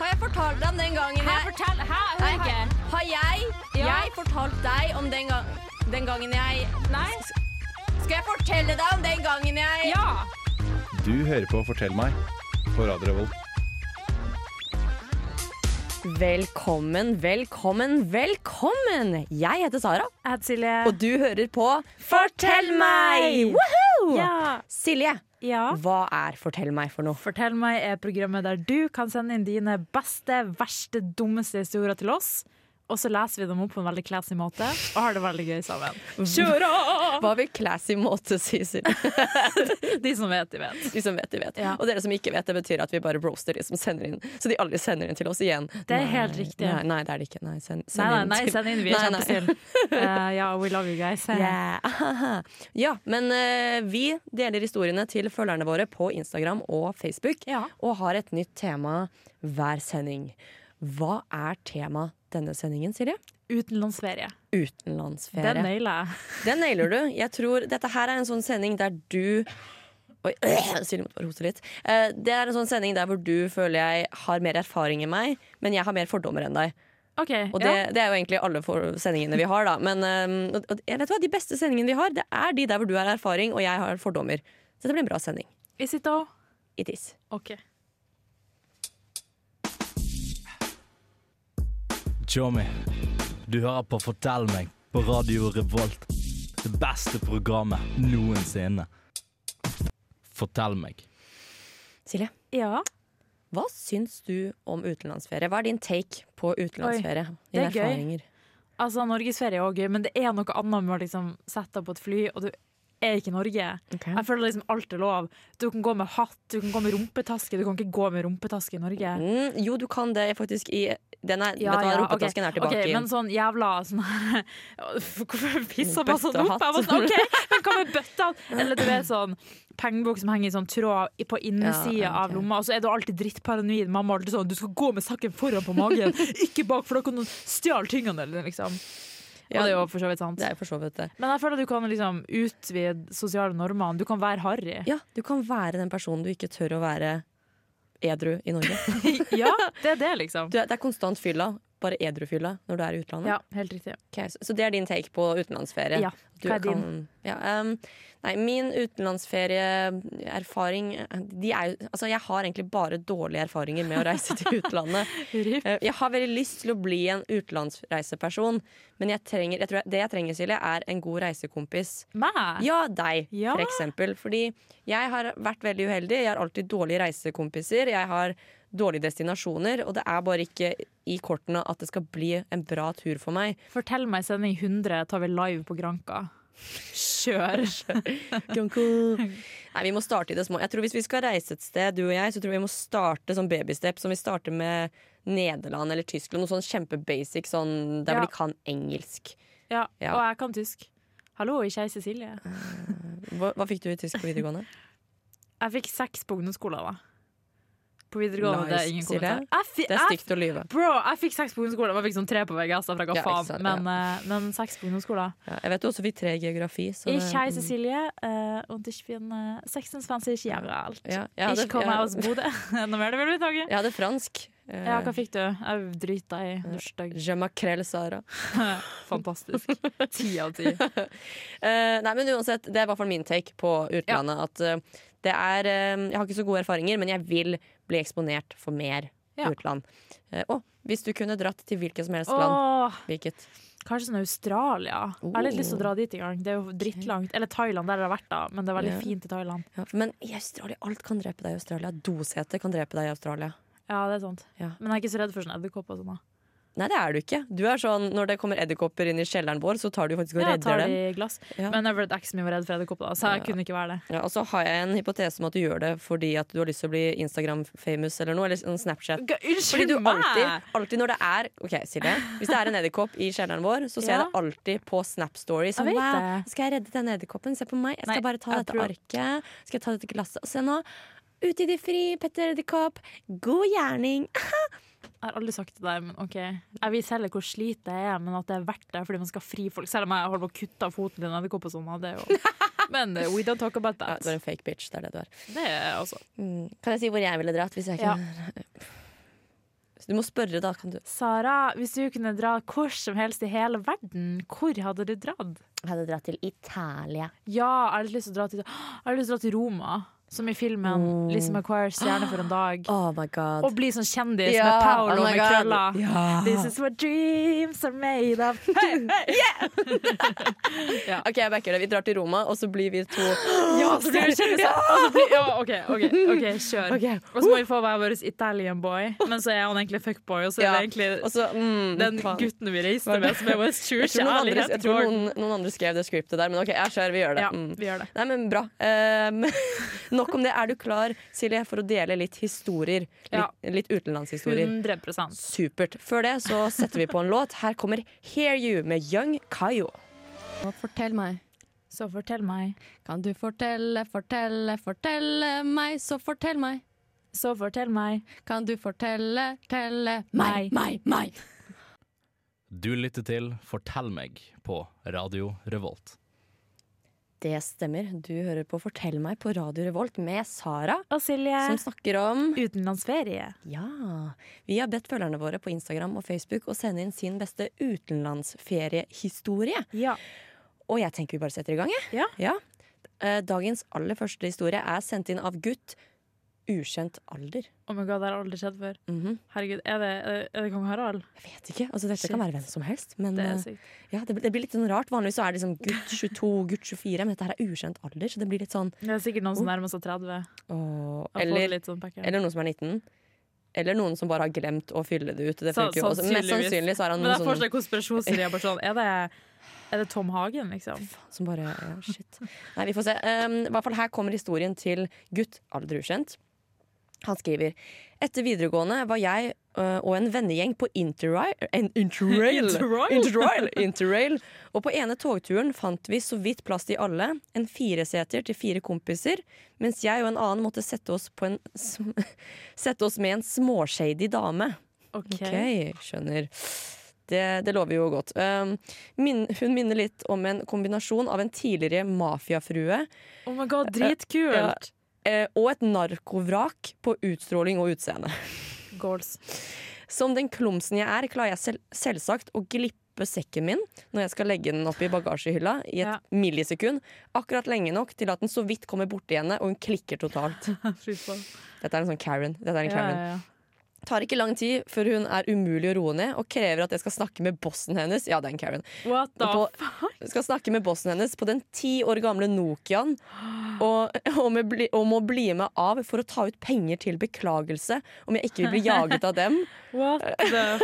Adrian, den gangen Hæ, jeg fortell! Hæ, jeg Nei, hører ikke. har, har jeg, Ja. jeg fortalt deg om den, gang, den gangen jeg Nei? Skal jeg fortelle deg om den gangen jeg Ja! Du hører på Fortell meg på Radio Revolt. Velkommen, velkommen, velkommen! Jeg heter Sara, Jeg heter Silje. og du hører på Fortell meg! Woohoo! Ja. Silje, ja. hva er Fortell meg for noe? Fortell meg er programmet der du kan sende inn dine beste, verste, dummeste historier til oss. Og så leser vi dem opp på en veldig classy måte og har det veldig gøy sammen. Kjør av! Hva vil classy måte si, Silje? De som vet, de vet. De som vet, de vet. Ja. Og dere som ikke vet, det betyr at vi bare roaster de som sender inn. Så de aldri sender inn til oss igjen. Det er helt riktig. Nei, nei, det er det ikke. Nei, send, Nei, send nei, inn nei, til- send inn. Vi er Nei, nei. kjempesnille. Uh, ja, we love you guys. Yeah. Ahaha. Ja, men eh, vi deler historiene til følgerne våre på Instagram og Facebook, Ja. og har et nytt tema hver sending. Hva er tema denne sendingen, Silje? Utenlandsferie. Den Utenlandsferie. nailer jeg. Den nailer du. Jeg tror Dette her er en sånn sending der du Oi, Silje måtte bare hoste litt. Eh, Det er en sånn sending der hvor du føler jeg har mer erfaring enn meg, men jeg har mer fordommer enn deg. OK. Og det, det er jo egentlig alle for sendingene vi har, da. Men øhm, og, og, jeg vet hva, de beste sendingene vi har, det er de der hvor du har erfaring og jeg har fordommer. Så det blir en bra sending. ja. Is it though? It is. OK. Tjommi, du hører på Fortell meg på Radio Revolt. Det beste programmet noensinne. Fortell meg. Silje, Ja. hva syns du om utenlandsferie? Hva er din take på utenlandsferie? det Dine er gøy. erfaringer? Altså, norgesferie er òg gøy, men det er noe annet med å liksom, sette deg på et fly, og du er ikke i Norge. Ok. Jeg føler liksom alt er lov. Du kan gå med hatt, du kan gå med rumpetaske. Du kan ikke gå med rumpetaske i Norge. Mm, jo, du kan det faktisk i den er, vet du, hva, Rumpetasken ok. er tilbake. Ok, i men sånn jævla sånn her Hvorfor pissa jeg bare sånn opp? Jeg var Bøttehatt. sånn, OK, men hva med bøtta? Eller du vet sånn pengebok som henger i sånn tråd i- på innsida Ja, ok. av lomma, og så er du alltid drittparanoid. Mamma er alltid sånn Du skal gå med saken foran på magen, ikke bak, for da kan noen stjele tingene dine, liksom. Ja, og det er jo for så vidt sant. det er jo for så vidt det. Men jeg føler at du kan liksom utvide sosiale normene. Du kan være harry. Ja, du kan være den personen du ikke tør å være edru i Norge. ja, det er det, liksom. Du, er- det er konstant fylla, bare edrufylla, når du er i utlandet. Ja, helt riktig. Ok, så, så det er din take på utenlandsferie? Ja, Du hva er kan- ja, um, nei, min utenlandsferieerfaring de er, jo- altså, Jeg har egentlig bare dårlige erfaringer med å reise til utlandet. Ripp. Eh, Jeg har veldig lyst til å bli en utenlandsreiseperson, men jeg trenger, jeg tror jeg, det jeg trenger, Silje, er en god reisekompis. Meg? Ja, deg, Ja. for eksempel. Fordi jeg har vært veldig uheldig. Jeg har alltid dårlige reisekompiser. Jeg har dårlige destinasjoner, og det er bare ikke i kortene at det skal bli en bra tur for meg. Fortell meg i sending 100, tar vi live på Granka. Kjør! Nei, vi må starte i det små. Jeg tror Hvis vi skal reise et sted, du og jeg, så tror jeg vi må starte som babysteps. Som vi starter med Nederland eller Tyskland. Noe sånn kjempebasic sånn der Ja. hvor de kan engelsk. Ja, Ja. Og jeg kan tysk. Hallo, ikke jeg Cecilie. Hva, hva fikk du i tysk på videregående? Jeg fikk seks på ungdomsskolen, da. På videregående, det Nice, er ingen sier kommentar. det. Jeg fi- Det er jeg- stygt å lyve. Bro, jeg fikk seks på ungdomsskolen. Jeg fikk sånn tre på VGS, da, for jeg ga Ja, ikke faen. sant, ja. men, eh, men seks på ungdomsskolen. Ja, jeg vet du også fikk tre i geografi. Så det- Ich heiße Silje eh, und ich bin eh, 26 Jahre alt. Ja, ja, ich det- komme ja. aus Bodø. Nå mer det vil bli taget. Jeg hadde fransk. Eh, Ja, hva fikk du? Jeg drita i. Du er stygg. Je m'accrelle, Sara. Fantastisk. Ti av ti. Eh, nei, men uansett, det er i hvert fall min take på utlandet. At eh, det er eh, Jeg har ikke så gode erfaringer, men jeg vil bli eksponert for mer Ja. utland. Eh, og hvis du kunne dratt til hvilket som helst land, Åh, hvilket? kanskje sånn Australia. Jeg har litt lyst til å Oh. dra dit en gang. Det er jo drittlangt. Eller Thailand, der har jeg vært, da. Men det er veldig Ja. fint i Thailand. Ja, men i Australia, alt kan drepe deg i Australia. Dosete kan drepe deg i Australia. Ja, det er sant. Ja. Men jeg er ikke så redd for sånn edderkopper og sånn. da. Nei, det er du ikke. Du er sånn, Når det kommer edderkopper inn i kjelleren vår, så tar du faktisk og Ja, jeg tar redder det dem. i glass. Ja. Men jeg ble eksen min var redd for edderkopper, da, så jeg Ja. kunne ikke være det. Ja, og så har jeg en hypotese om at du gjør det fordi at du har lyst til å bli Instagram-famous eller noe. Eller sånn Snapchat. G- Fordi du Unnskyld meg! alltid, alltid når det er Ok, Silje. Hvis det er en edderkopp i kjelleren vår, så ser jeg Ja. det alltid på Snap Story. Sånn, Jeg vet wow, det. skal jeg redde denne edderkoppen? Se på meg. Jeg skal Nei, bare ta jeg dette tror- arket. Skal jeg ta dette glasset? Og se nå. Ute i det fri, Petter Edderkopp. God gjerning. Jeg har aldri sagt til deg, men ok. Jeg vil selge hvor slitet jeg er, men at det er verdt det fordi man skal fri folk. Selv om jeg holder på å kutte av foten din edderkopp og sånn. og Det er jo Men uh, we don't talk about Ja, that. Ah, du er en fake bitch. Det er det du er. Det er altså- også Mm. Kan jeg si hvor jeg ville dratt hvis jeg Ja. kunne Så du må spørre, da. Kan du Sara, hvis du kunne dra hvor som helst i hele verden, hvor hadde du dratt? Jeg hadde dratt til Italia. Ja, jeg har litt lyst til å dra til, jeg har lyst til, å dra til Roma, som i filmen Lizzie McQuires 'Stjerne for en dag'. Oh my god. Og bli sånn kjendis Ja, med Paolo oh my med God. krøller. Ja. This is what dreams are made of. Hey, hey. OK, jeg backer det. Vi drar til Roma, og så blir vi to Ja, så Altså, blir det kjendiser. Og så blir- Ja, OK, ok, ok, kjør. Ok. Og så må vi få hver vår Italian boy, men så er han egentlig fuckboy. Og så er Ja, det egentlig Og så mm, den faen. gutten vi reiste med, som er vår true Jeg tror, noen andre, jeg kjærlighet. tror noen, noen andre skrev det scriptet der, men OK, jeg kjører. Vi gjør det. Ja, Mm. vi gjør det. Nei, men bra. Ehm, nok om det. Er du klar, Silje, for å dele litt historier? Litt, Ja. Mm. litt utenlandshistorier. 100 Supert. Før det så setter vi på en låt. Her kommer 'Hear You' med Young Kayo. Fortell meg. Så fortell meg, Kan du fortelle, fortelle, fortelle meg, så fortell meg. så fortell meg. Kan du fortelle, telle meg, meg, meg. Du lytter til Fortell meg på Radio Revolt. Det stemmer. Du hører på Fortell meg på Radio Revolt med Sara, Og Silje, som snakker om utenlandsferie. Ja. Vi har bedt følgerne våre på Instagram og Facebook å sende inn sin beste utenlandsferiehistorie. Ja. Og jeg tenker vi bare setter i gang, jeg. Ja. Eh, Dagens aller første historie er sendt inn av gutt ukjent alder. Oh my god, det har aldri skjedd før. Mhm. Herregud, er det, er- er det kong Harald? Jeg vet ikke. Altså, dette kan Shit. være hvem som helst. Men Det er eh, sykt. ja, det, blir- det blir litt sånn rart. Vanligvis så er det liksom gutt 22, gutt 24, men dette her er ukjent alder. Så det blir litt sånn Det er sikkert noen som nærmer seg 30. åh, og får eller, litt sånn pakke. eller noen som er 19. Eller noen som bare har glemt å fylle det ut. Det Sa- funker jo også. Mest sannsynligvis. sannsynlig så er han Men noen det er sånn fortsatt konspirasjonsteorier. Bare sånn, er, det, er det Tom Hagen, liksom? Som bare, ja, shit Nei, vi får se um, I hvert fall her kommer historien til gutt alder ukjent Han skriver Etter videregående var jeg øh, og en vennegjeng på interrail en Interrail Interrail? Interrail Interrail Og på ene togturen fant vi så vidt plass til alle En fireseter til fire kompiser Mens jeg og en annen måtte sette oss på en sm- Sette oss med en småshady dame Ok. Ok, skjønner. Det, det lover jo godt. Um, min, hun minner litt om en kombinasjon av en tidligere mafiafrue Oh my god, dritkult! Ja. eh, og et narkovrak på utstråling og utseende. Goals. Som den klumsen jeg er, klarer jeg sel selvsagt å glippe sekken min når jeg skal legge den oppi bagasjehylla i et Ja. millisekund. Akkurat lenge nok til at den så vidt kommer borti henne, og hun klikker totalt. Fy faen. Dette er en sånn Karen. Dette er en Ja, Karen. ja, ja. Tar ikke lang tid før hun er umulig å roe ned og krever at jeg skal snakke med bossen hennes. Ja, det er en Karen. What the på, f... skal snakke med bossen hennes på den ti år gamle Nokiaen og, og, med bli, og må bli med av for å ta ut penger til beklagelse om jeg ikke vil bli jaget av dem. What the f...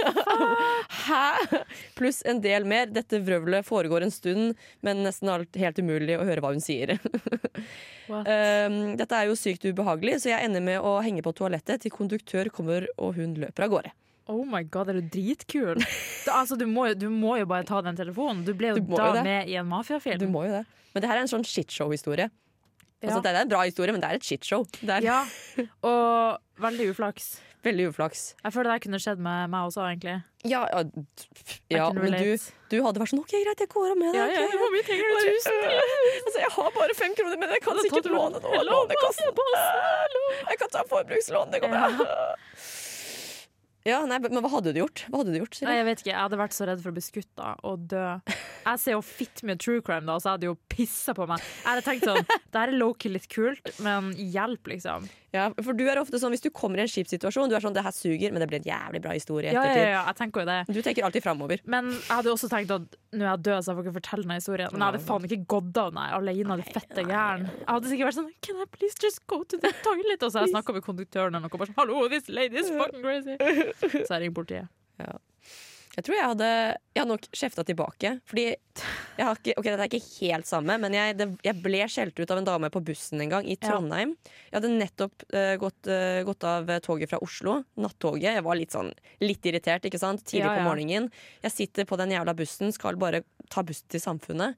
Hæ? Pluss en del mer. Dette vrøvlet foregår en stund, men nesten alt helt umulig å høre hva hun sier. What? Um, dette er jo sykt ubehagelig, så jeg ender med å henge på toalettet til konduktør kommer og hun løper av gårde. Oh my god, er du dritkul? Du, altså, du, må, jo- du må jo bare ta den telefonen. Du ble jo Du må jo da det. med i en Du mafiafilm. må jo det. Men det her er en sånn shitshow-historie. Ja. Altså, det er en bra historie, men det er et shitshow. Det er Ja, og veldig uflaks. veldig uflaks. Jeg føler det her kunne skjedd med meg også, egentlig. Ja, ja, d- I ja can men du, relate. du hadde vært sånn OK, greit, jeg går av med deg. ok, greit». Hvor mye trenger du? Tusen Altså, jeg har bare fem kroner, men jeg kan sikkert låne noe av Lånekassen. Jeg kan ta forbrukslån, det går bra. Ja, nei, men hva hadde du gjort? Hva hadde du gjort, Nei, Silje? jeg vet ikke, jeg hadde vært så redd for å bli skutt da, og dø. Jeg ser jo fitt med true crime, da, så jeg hadde jo pissa på meg. Jeg hadde tenkt sånn Det her er low-key litt kult, men hjelp, liksom. Ja, for du er ofte sånn hvis du kommer i en skipssituasjon, du er sånn det her suger, men det blir en jævlig bra historie i Ja, ja, ettertid. ja, jeg tenker jo det. Du tenker alltid framover. Men jeg hadde jo også tenkt at nå er jeg død, så jeg får ikke fortelle denne historien. Men jeg hadde faen ikke gått av, nei. Alene hadde fette gæren. Jeg hadde sikkert vært sånn Can I please just go to the toilet? Og så har jeg snakka med konduktøren eller noe, bare sånn Hallo, this lady is fucking crazy. Så jeg ringte politiet. Jeg tror jeg hadde Jeg hadde nok skjefta tilbake. Fordi jeg har ikke, Ok, dette er ikke helt samme, men jeg, det, jeg ble skjelt ut av en dame på bussen en gang i Trondheim. Jeg hadde nettopp eh, gått, eh, gått av toget fra Oslo. Nattoget. Jeg var litt sånn litt irritert, ikke sant? Tidlig Ja, ja. på morgenen. Jeg sitter på den jævla bussen, skal bare ta bussen til Samfunnet.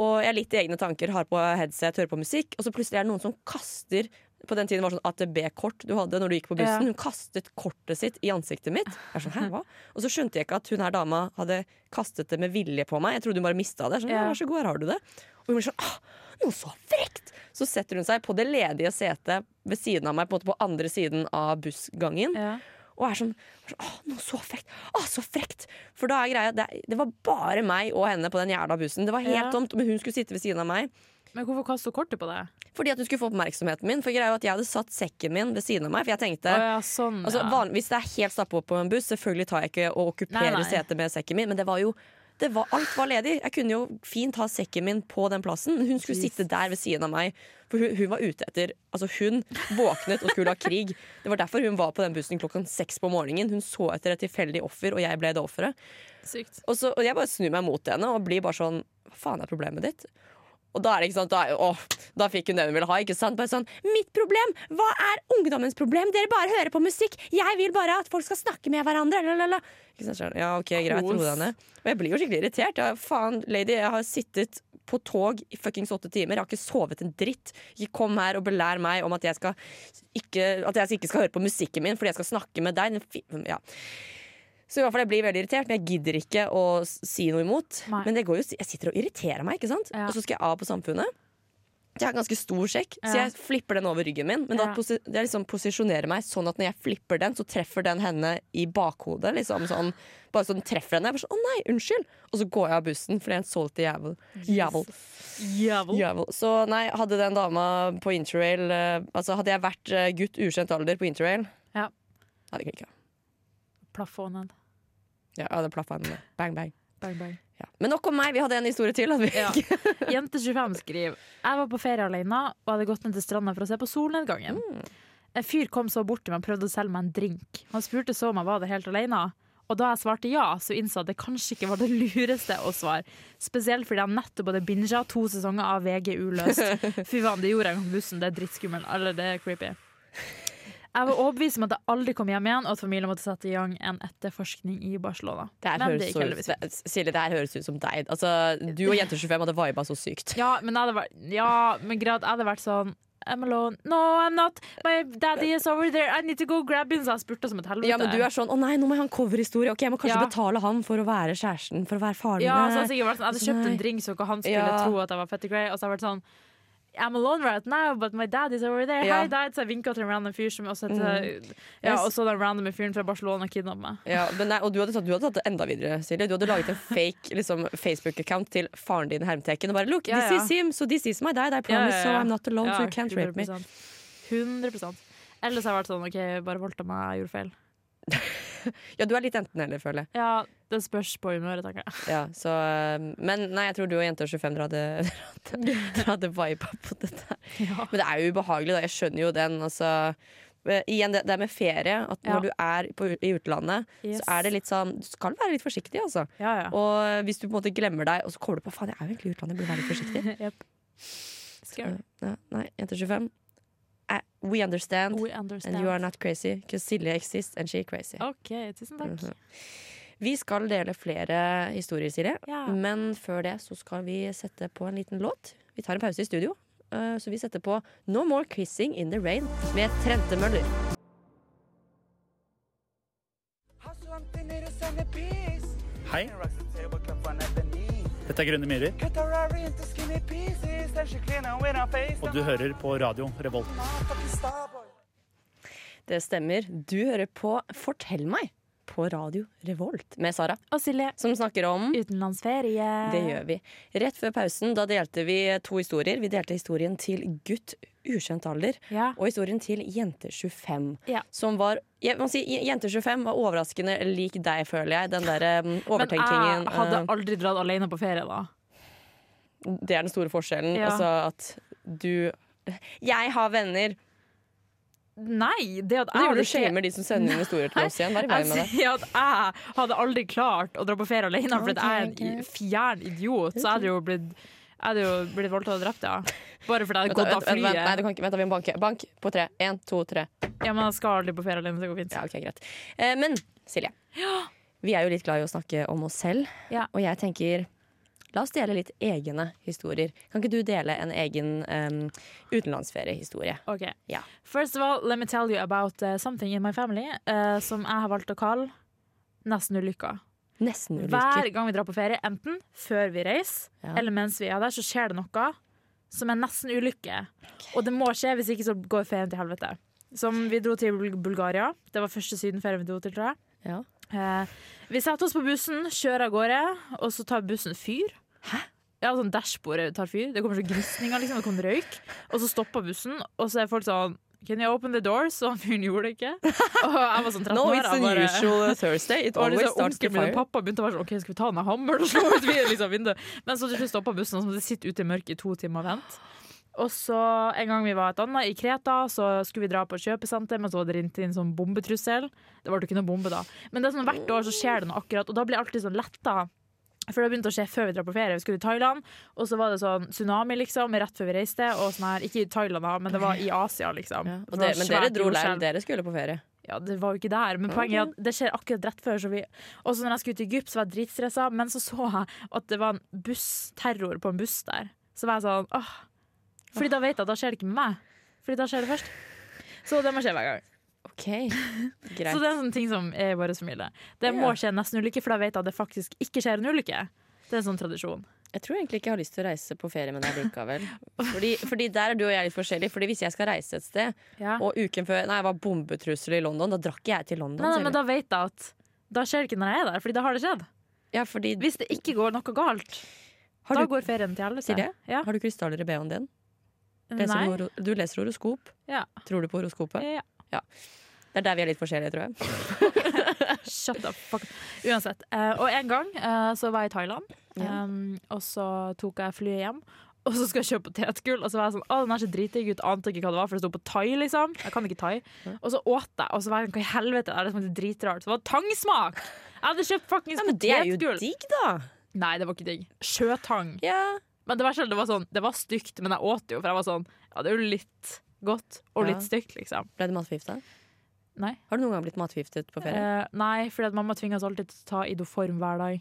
Og jeg er litt i egne tanker, har på headset, hører på musikk, og så plutselig er det noen som kaster på den tiden var det sånn ATB-kort du hadde når du gikk på bussen. Ja. Hun kastet kortet sitt i ansiktet mitt. Jeg er sånn, Hæ, hva? Og så skjønte jeg ikke at hun her dama hadde kastet det med vilje på meg. Jeg trodde hun bare mista det. Jeg er Sånn, ja. Ja. vær så god, her har du det. Og hun blir sånn ah, noe så frekt! Så setter hun seg på det ledige setet ved siden av meg, på, en måte på andre siden av bussgangen. Ja. Og er sånn Å, nå så frekt! Å, så frekt! For da er greia det, det var bare meg og henne på den jævla bussen. Det var helt Ja. tomt, men hun skulle sitte ved siden av meg. Men hvorfor kaster du kortet på det? Fordi at hun skulle få oppmerksomheten min. For greia er jo at jeg hadde satt sekken min ved siden av meg. For jeg tenkte Å ja, sånn, altså, ja. van, Hvis det er helt stappa på en buss, selvfølgelig tar jeg ikke og Nei, okkuperer nei. setet med sekken min. Men det var jo det var, alt var ledig. Jeg kunne jo fint ha sekken min på den plassen. Hun skulle sitte der ved siden av meg. For hun, hun var ute etter Altså, hun våknet og skulle ha krig. Det var derfor hun var på den bussen klokken seks på morgenen. Hun så etter et tilfeldig offer, og jeg ble det offeret. Sykt. Og, så, og jeg bare snur meg mot henne og blir bare sånn Hva faen er problemet ditt? Og da er det ikke sant, da, er- åh, da fikk hun det hun ville ha. ikke sant? Bare sånn, Mitt problem! Hva er ungdommens problem? Dere bare hører på musikk! Jeg vil bare at folk skal snakke med hverandre! Lalala. Ikke sant, skjønner du? ja, ok, greit, Kos. hodet henne. Og jeg blir jo skikkelig irritert. Ja, faen, lady, jeg har sittet på tog i fuckings åtte timer. Jeg har ikke sovet en dritt. Ikke kom her og belær meg om at jeg, skal ikke, at jeg ikke skal høre på musikken min fordi jeg skal snakke med deg. Den fi- Ja. Så i hvert fall jeg blir veldig irritert, men jeg gidder ikke å s- si noe imot. Nei. Men det går jo, jeg sitter og irriterer meg, ikke sant? Ja. Og så skal jeg av på samfunnet. Jeg har ganske stor sjekk, så Ja. jeg flipper den over ryggen min. Men da Ja. posi jeg liksom posisjonerer meg sånn at når jeg flipper den, så treffer den henne i bakhodet. Liksom, sånn, bare sånn treffer henne. Jeg bare sånn, å nei, unnskyld! Og så går jeg av bussen, for det er en salty jævel. jævel. Jævel. Jævel. Så nei, hadde den dama på interrail eh, Altså hadde jeg vært eh, gutt ukjent alder på interrail, Ja. hadde jeg klikka. Plafonen. Ja, jeg hadde plaffa henne. Bang, bang. Bang, bang. Ja. Men nok om meg, vi hadde en historie til. Hadde vi? Ja. Jente25 skriver Jeg var på ferie alene og hadde gått ned til stranda for å se på solnedgangen. Mm. En fyr kom så bort til meg og prøvde å selge meg en drink. Han spurte så om jeg var der helt alene. Og da jeg svarte ja, så innså jeg at det kanskje ikke var det lureste å svare. Spesielt fordi jeg nettopp hadde binga to sesonger av VG uløst. Fy faen, det gjorde jeg på bussen. Det er drittskummelt. Eller det er creepy. Jeg var overbevist om at jeg aldri kom hjem igjen, og at familien måtte sette i gang en etterforskning i Barcelona. Det her Men det høres gikk så heldigvis ut- det- Silje, det her høres ut som deg. Altså, du og Jenter25 hadde viba så sykt. Ja, men jeg hadde vært, ja, men grad, jeg hadde vært sånn I'm alone. No, I'm not. My daddy is over there. I need to go grab him. Så jeg spurte som et helvete. Ja, men du er sånn 'Å nei, nå må jeg ha en coverhistorie'. Ok, jeg må kanskje Ja. betale han for å være kjæresten, for å være faren Ja, så jeg, min. har sikkert vært sånn, jeg hadde kjøpt en drink så ikke han skulle Ja. tro at jeg var Fetty Grey. Og så har jeg vært sånn I'm alone right now, but my dad is over there. Ja. Mm. Hi, dad. Så jeg vinka til en random fyr som også heter Ja, og så den random fyren fra Barcelona kidnappet meg. Ja, men nei, og du hadde, tatt, du hadde tatt det enda videre, Silje. Du hadde laget en fake liksom, Facebook-account til faren din i hermetegn og bare 'Look, Ja, this ja. is him, so this is my dad. I Ja, promise, ja, so ja. I'm not alone, so you can't rape me'. 100%. 100 Ellers har jeg vært sånn OK, bare voldta meg, jeg gjorde feil. Ja, du er litt enten-eller, føler jeg. Ja, det spørs på humøret, tenker jeg. Ja, så, eh, men nei, jeg tror du og Jenter25 dere hadde, dere hadde viba på dette. her. Ja. Men det er jo ubehagelig, da. Jeg skjønner jo den. Altså. Eh, Igjen, det, det er med ferie. At Ja. når du er på, i utlandet, Yes. så er det litt sånn Du skal være litt forsiktig, altså. Ja, ja. Og hvis du på en måte glemmer deg, og så kommer du på faen, jeg er jo egentlig i utlandet, jeg burde være litt forsiktig. Yep. Scared. Ja, nei, jenter 25. Eh, We understand, We understand. and you are not crazy, because Silje exists, and she crazy. OK, tusen takk. Mhm. Vi skal dele flere historier, Silje. Ja. Men før det så skal vi sette på en liten låt. Vi tar en pause i studio. eh, Så vi setter på No More Kissing In The Rain med Trente Møller. Hei, dette er Grønne Myhrer, og du hører på radio Revolt. Det stemmer. Du hører på Fortell meg på Radio Revolt med Sara, Og Silje, som snakker om utenlandsferie. Det gjør vi. Rett før pausen da delte vi to historier. Vi delte historien til gutt ukjent alder. Ja. og historien til Jente25. Ja. Som var jeg må si, Jente25 var overraskende lik deg, føler jeg. Den der um, Men overtenkingen. jeg hadde eh, aldri dratt alene på ferie, da. det er den store forskjellen. Ja. Altså at du Jeg har venner! Nei! Det at Du jeg gjør hadde du Altså- shamer de som sender inn historier til oss igjen. Hva er i Jeg veien med det? sier at jeg hadde aldri klart å dra på ferie alene, for jeg er en i- fjern idiot. Så jeg hadde jo blitt, jeg hadde jo blitt voldtatt og drept, ja. Bare fordi jeg hadde Vent, gått vent, av vent, vent, nei, du flyet. kan ikke, vent, da, vi må banke. Bank på tre. Én, to, tre. Ja, Men jeg skal aldri på ferie alene, så det går fint. Ja, ok, greit. Eh, men Silje, vi er jo litt glad i å snakke om oss selv. Ja. Og jeg tenker, la oss dele litt egne historier. Kan ikke du dele en egen em, utenlandsferiehistorie? Ok. Ja. First of all, let me tell you about uh, something in my family uh, som jeg har valgt å kalle nesten ulykka. Nesten Hver ulykker. gang vi drar på ferie, enten før vi reiser Ja. eller mens vi er der, så skjer det noe som er nesten ulykke. Og det må skje, hvis ikke så går ferien til helvete. Som vi dro til Bul- Bulgaria. Det var første sydenferien vi dro til, tror jeg. Ja. Eh, vi setter oss på bussen, kjører av gårde, og så tar bussen fyr. Ja, sånn dashbordet tar fyr. Det kommer sånn gnisninger, liksom. Det kommer røyk. Og så stopper bussen, og så er folk sånn Can you open the doors? Og han fyren gjorde det ikke. Og jeg var sånn 13 No, år. it's jeg an bare- usual Thursday. It og always liksom, starts the onkelen min og fire. pappa begynte å være sånn OK, skal vi ta den av hammeren og slå ut vid- liksom, vinduet? Men så til slutt stoppa bussen, og så måtte de sitte ute i mørket i to timer og vente. Og så en gang vi var et annet, i Kreta, så skulle vi dra på et kjøpesenter, men så var det rint inn sånn bombetrussel. Det ble jo ikke noe bombe da. Men det er sånn, hvert år så skjer det noe akkurat, og da blir jeg alltid sånn letta. For det begynte å skje før vi drar på ferie. Vi skulle til Thailand, og så var det sånn tsunami, liksom, rett før vi reiste. Og sånn her, ikke i Thailand, da, men det var i Asia, liksom. Ja, For og det dere, var men svært dere dro der. jordskjelv. Dere skulle på ferie. Ja, det var jo ikke der, men poenget er at det skjer akkurat rett før. Så vi, også når jeg skulle ut i Egypt, så var jeg dritstressa, men så så jeg at det var en bussterror på en buss der. Så var jeg sånn åh. Fordi da vet jeg at da skjer det ikke med meg. Fordi da skjer det først. Så det må skje hver gang. Ok, Så greit. det er en sånn ting som er i vår familie. Det Ja. må skje en nesten ulykke, for da vet jeg at det faktisk ikke skjer en ulykke. Det er en sånn tradisjon. Jeg tror egentlig ikke jeg har lyst til å reise på ferie med deg likevel. Fordi, fordi der er du og jeg litt forskjellige. Fordi hvis jeg skal reise et sted, Ja. og uken før Nei, jeg var bombetrussel i London, da drakk ikke jeg til London. Nei, nei, ser men du. da vet jeg at da skjer det ikke når jeg er der, fordi da har det skjedd. ja, fordi, Hvis det ikke går noe galt, har, da du, går ferien til helvete. Sier det? Ja. har du krystaller i BH-en din? Leser Nei. du, horo- du leser horoskop? Ja. Tror du på horoskopet? Ja. Det er der vi er litt forskjellige, tror jeg. Shut the fuck up. Uansett. eh, og en gang eh, så var jeg i Thailand, Ja. em, og så tok jeg flyet hjem. Og så skal jeg kjøpe potetgull, og så var jeg sånn Å, den her ser dritdigg ut. Ante ikke hva det var, for det sto på thai, liksom. Jeg kan ikke thai. Og så åt jeg, og så var jeg sånn Hva i helvete er det som er dritrart? Så var det tangsmak! Jeg hadde kjøpt fuckings Ja, men det er jo potetgull. digg, da! Nei, det var ikke digg. Sjøtang. Ja. Men det var, selv, det var sånn Det var stygt, men jeg åt det jo, for jeg var sånn Ja, det er jo litt godt, og Ja. litt stygt, liksom. Ble du matforgifta? Nei. Har du noen gang blitt matforgiftet på ferie? Eh, nei, fordi at mamma tvinger oss alltid til å ta Idoform hver dag.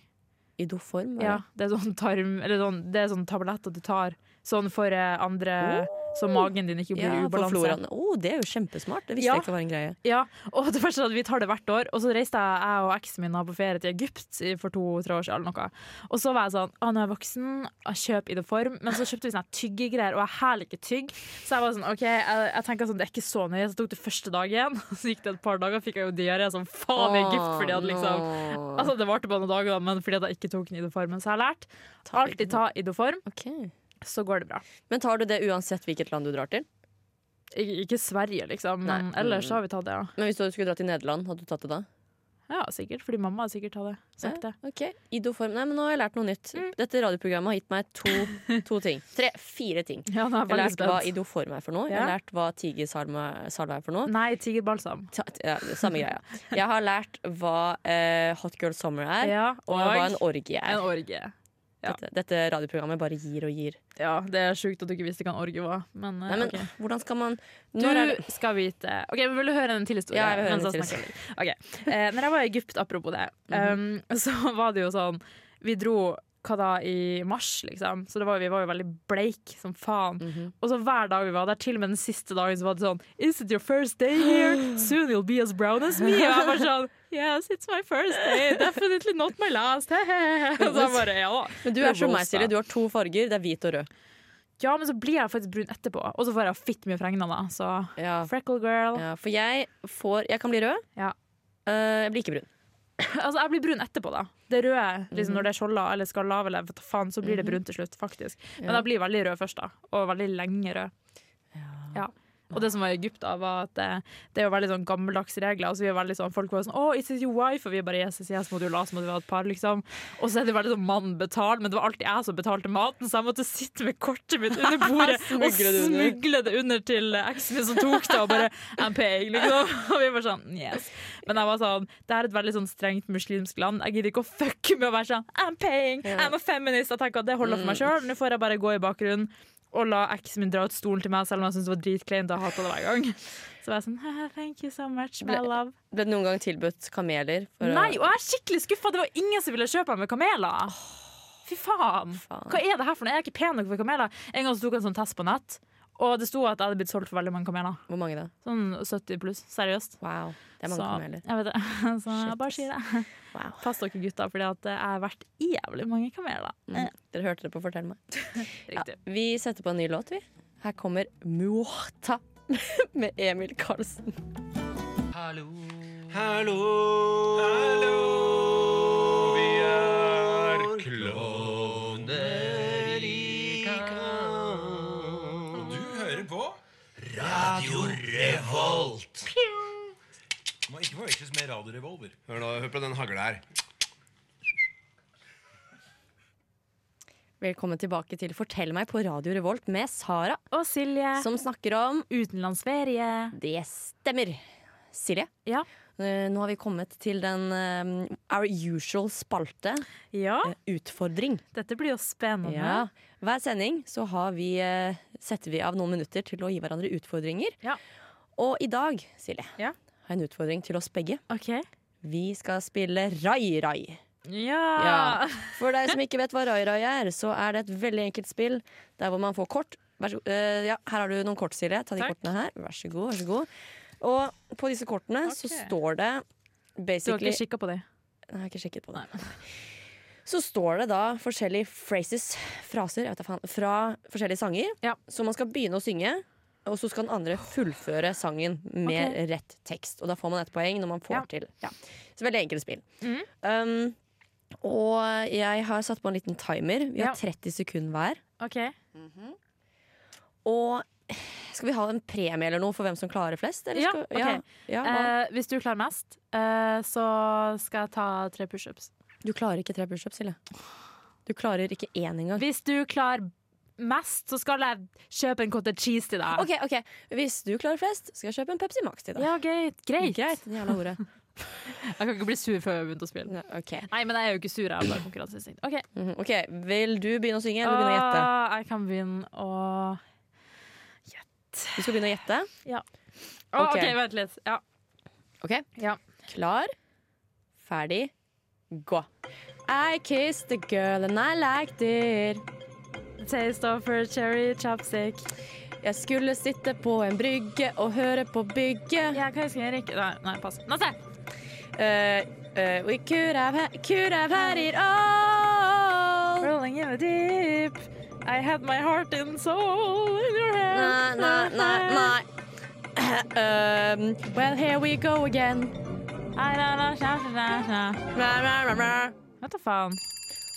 I doform? Ja, eller? det er sånn tarm Eller sånn, det er sånn tabletter du tar Sånn for eh, andre Så magen din ikke Oh. blir Ja, i for ubalanse floraen. Å, det er jo kjempesmart. Det visste Ja. jeg ikke var en greie. Ja, og det første er at vi tar det hvert år Og så reiste jeg, jeg og eksen min da på ferie til Egypt i- For to-tre år siden eller noe Og så var jeg sånn, ah, nå er jeg voksen Jeg kjøper i det form Men så kjøpte vi sånne tyggegreier Og jeg hæler ikke tygg Så jeg var sånn, ok, jeg, jeg tenker sånn, det er ikke så nøye Så tok det første dagen Så gikk det et par dager Fikk jeg jo diaré som faen i Egypt Fordi jeg hadde liksom Åh, Altså, det varte bare noen dager, da, men fordi at jeg ikke tok den idoformen, så har jeg lært. Alltid ta idoform, ok. så går det bra. Men tar du det uansett hvilket land du drar til? Ik ikke Sverige, liksom, men Nei. ellers Mm. så har vi tatt det, ja. Men hvis du skulle dra til Nederland, hadde du tatt det da? Ja, sikkert, fordi mamma har sikkert tatt det. Sagt det. Ja, ok. Idoform. Nei, men nå har jeg lært noe nytt. Mm. Dette radioprogrammet har gitt meg to, to ting. Tre, fire ting. Ja, Jeg nå er har jeg veldig lært hva spent. idoform er for noe. Jeg Ja. Mm. har lært hva tigersalve er for noe. Nei, tigerbalsam. Ta- Ja, det er samme greia. Jeg har lært hva eh, Hot Girl Summer er, Ja, og og hva en en orgie er. orgie. ja. Dette, dette radioprogrammet bare gir og gir. Ja, det er sjukt at du ikke visste hva en orgie var, men, eh, Nei, men ok. hvordan skal man Du Når er det skal vite OK, men vil du høre en til historie? Ja, jeg vil høre Mens en til snakker litt? Ok. Eh, når jeg var i Egypt, apropos det, Mhm. um, så var det jo sånn Vi dro hva da, i mars, liksom, så det var, vi var jo veldig bleik som faen. Mhm. Og så hver dag vi var der, til og med den siste dagen, så var det sånn Is it your first day here? Soon you'll be as brown as me. Og jeg bare sånn Yes, it's my first day. Definitely not my last. Hehehe. Og så jeg bare, ja da. Men du ble er som meg, rosa. Silje. Du har to farger. Det er hvit og rød. Ja, men så blir jeg faktisk brun etterpå, og så får jeg fitt mye fregner da, så Ja. Freckle girl. Ja, for jeg får Jeg kan bli rød. Ja. Eh, jeg blir ikke brun. Altså, jeg blir brun etterpå, da. Det røde, liksom, når det er skjolder eller skal lave, eller vet du faen, så blir det brunt til slutt, faktisk. Men Ja. jeg blir veldig rød først, da. Og veldig lenge rød. Ja. Og det som var i Egypt, da, var at eh, det er jo veldig sånn gammeldagse regler. Altså, vi er veldig sånn, Folk var sånn 'Å, is it your wife?' Og vi bare 'Yes, yes, yes, må du la oss, må du være et par', liksom. Og så er det veldig sånn 'mann betal', men det var alltid jeg som betalte maten, så jeg måtte sitte med kortet mitt under bordet og Smugle det under. smugle det under til eh, eksen min som tok det, og bare 'I'm paying', liksom. Og vi var sånn 'yes'. Men jeg var sånn, det er et veldig sånn strengt muslimsk land. Jeg gidder ikke å fucke med å være sånn I'm paying, I'm a feminist. Jeg tenker at det holder for Mm. meg sjøl. Nå får jeg bare gå i bakgrunnen og la eksen min dra ut stolen til meg, selv om jeg syntes det var dritkleint. Jeg hatet det hver gang. Så var jeg sånn «Haha, Thank you so much, my Ble- love. Ble det noen gang tilbudt kameler? for å- Nei, og jeg er skikkelig skuffa. Det var ingen som ville kjøpe meg med kameler. Fy faen. Faen. Hva er det her for noe? Jeg er ikke pen nok for kameler. En gang så tok jeg en sånn test på nett, og det sto at jeg hadde blitt solgt for veldig mange kameler. Hvor mange da? Sånn 70 pluss. Seriøst. Wow, det er mange Så, kameler. jeg vet det. Så jeg Shit, bare ass. sier det. Wow. Pass dere gutta, fordi at jeg har vært jævlig mange kameler. Mm. Dere hørte det på Fortell meg. Ja, Riktig. vi setter på en ny låt, vi. Her kommer Muata med Emil Karlsen. Hør, nå, hør på den hagla her. Velkommen tilbake til Fortell meg på Radio Revolt med Sara, Og Silje. som snakker om Utenlandsferie. Det stemmer. Silje, Ja. eh, nå har vi kommet til den eh, our usual spalte, ja. eh, utfordring. Dette blir jo spennende. Ja. Hver sending så har vi, eh, setter vi av noen minutter til å gi hverandre utfordringer. Ja. Og i dag, Silje, Ja. har jeg en utfordring til oss begge. OK. Vi skal spille Rai Rai. Ja. Ah. Ja. For deg som ikke vet hva Rai Rai er, så er det et veldig enkelt spill der hvor man får kort. Vær så, god. Eh, ja, her har du noen kort, Silje. Ta de Takk. kortene her. Vær så god. vær så god Og på disse kortene så Ok. står det Du har basically ikke kikka på dem? Nei, Jeg har ikke sjekket på det. Så står det da forskjellige phrases, fraser, jeg vet da faen, fra forskjellige sanger. Ja. Så man skal begynne å synge, og så skal den andre fullføre sangen med rett tekst. Og da får man ett poeng når man får Ja. Mhm. til. Ja. Så veldig enkelt spill. Um, og jeg har satt på en liten timer. Vi Ja. har 30 sekunder hver. OK. Og skal vi ha en premie eller noe for hvem som klarer flest? Eller Ja, skal, ok. ja, hva? Eh, hvis du klarer mest, eh, så skal jeg ta tre pushups. Du klarer ikke tre pushups, Silje. Du klarer ikke én engang. Hvis du klarer mest, så skal jeg kjøpe en cottage cheese til deg. Ok, ok Hvis du klarer flest, skal jeg kjøpe en Pepsi Max til deg. Ja, greit. greit. Greit, den jævla ordet. Jeg kan ikke bli sur før jeg har begynt å spille. Nei, ok. Nei, men jeg er jo ikke sur. Jeg er bare konkurranseinstinkt. Ok, Mhm, ok, Vil du begynne å synge, eller begynne å gjette? Ah, jeg kan begynne å Du skal begynne å gjette. Ah, Ok. OK, vent litt. Ja. Ok, Ja. Klar, ferdig, gå. I kissed the girl and I liked it. Taste of her cherry chopstick. Jeg skulle sitte på en brygge og høre på bygget. Jeg kan huske Erik Nei, nei pass. Neste! Eh, eh, we could have, ha- could have had it all. Rolling in the deep. I had my heart and soul in your Nei, hand. nei, nei, nei. Um, well, here we go again. Nei, nei, nei, nei, nei, nei. Rah, rah, rah, rah. Vet du faen.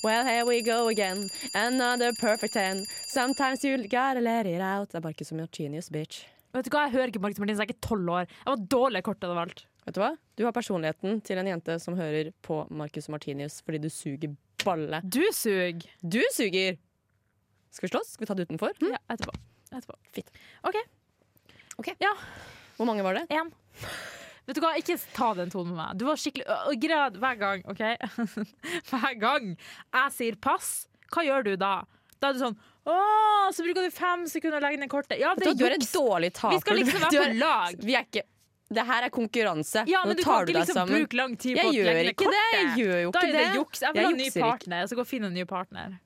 Well, here we go again. Another perfect ten. Sometimes you gotta let it out. Det er bare ikke som Genius, bitch. Vet du hva, Jeg hører ikke Marcus Martinsen, jeg er ikke tolv år. Jeg var dårlig kort av alt. Vet du hva? Du har personligheten til en jente som hører på Marcus Martinius fordi du suger balle. Du suger. Du suger! Skal vi slåss? Skal vi ta det utenfor? Hm? Ja, etterpå. etterpå. Fint. OK. Ok. Ja, Hvor mange var det? én. Vet du hva, ikke ta den tonen med meg. Du var skikkelig Å, å, græd hver gang, OK? hver gang jeg sier pass, hva gjør du da? Da er du sånn Å, så bruker du fem sekunder å legge ned kortet. Ja, Vet du det hva, du er er en juks. dårlig taper. Vi skal liksom Du være er- på lag. Vi er ikke Det her er konkurranse. Ja, Nå men du tar kan du ikke deg liksom sammen. bruke lang tid Jeg på å gjør legge ned ikke det, kortet. jeg gjør jo da ikke er det det. juks. Jeg vil Jeg ha en ny jukser ikke. partner. Jeg skal gå og finne en ny partner.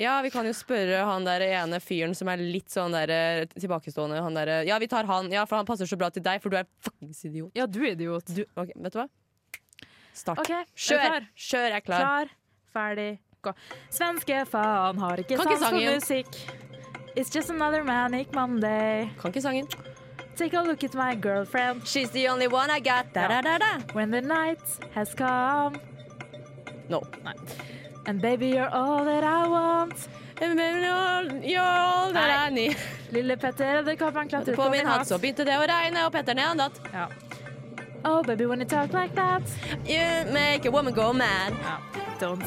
Ja, vi kan jo spørre han der ene fyren som er litt sånn der eh, tilbakestående. Han der, eh, ja, vi tar han, ja, for han passer så bra til deg, for du er fuckings idiot. Ja, du er idiot. Du, ok, vet du hva? Start. OK, er du Kjør! klar? Kjør, jeg er klar. Klar, ferdig, gå. Svenske faen har ikke Kan ikke sans for sangen. musikk. It's just another manic Monday. Kan ikke sangen. Take a look at my girlfriend She's the only one I got. Da, da, da, da. when the night has come. No. And baby, you're all that I want. You're all that I need. Lille Petter, edderkoppen klatret På min hatt så begynte det å regne, og Petter ned natt. Ja. Oh, baby, when you talk like that. You make a woman go mad. Ja. Don't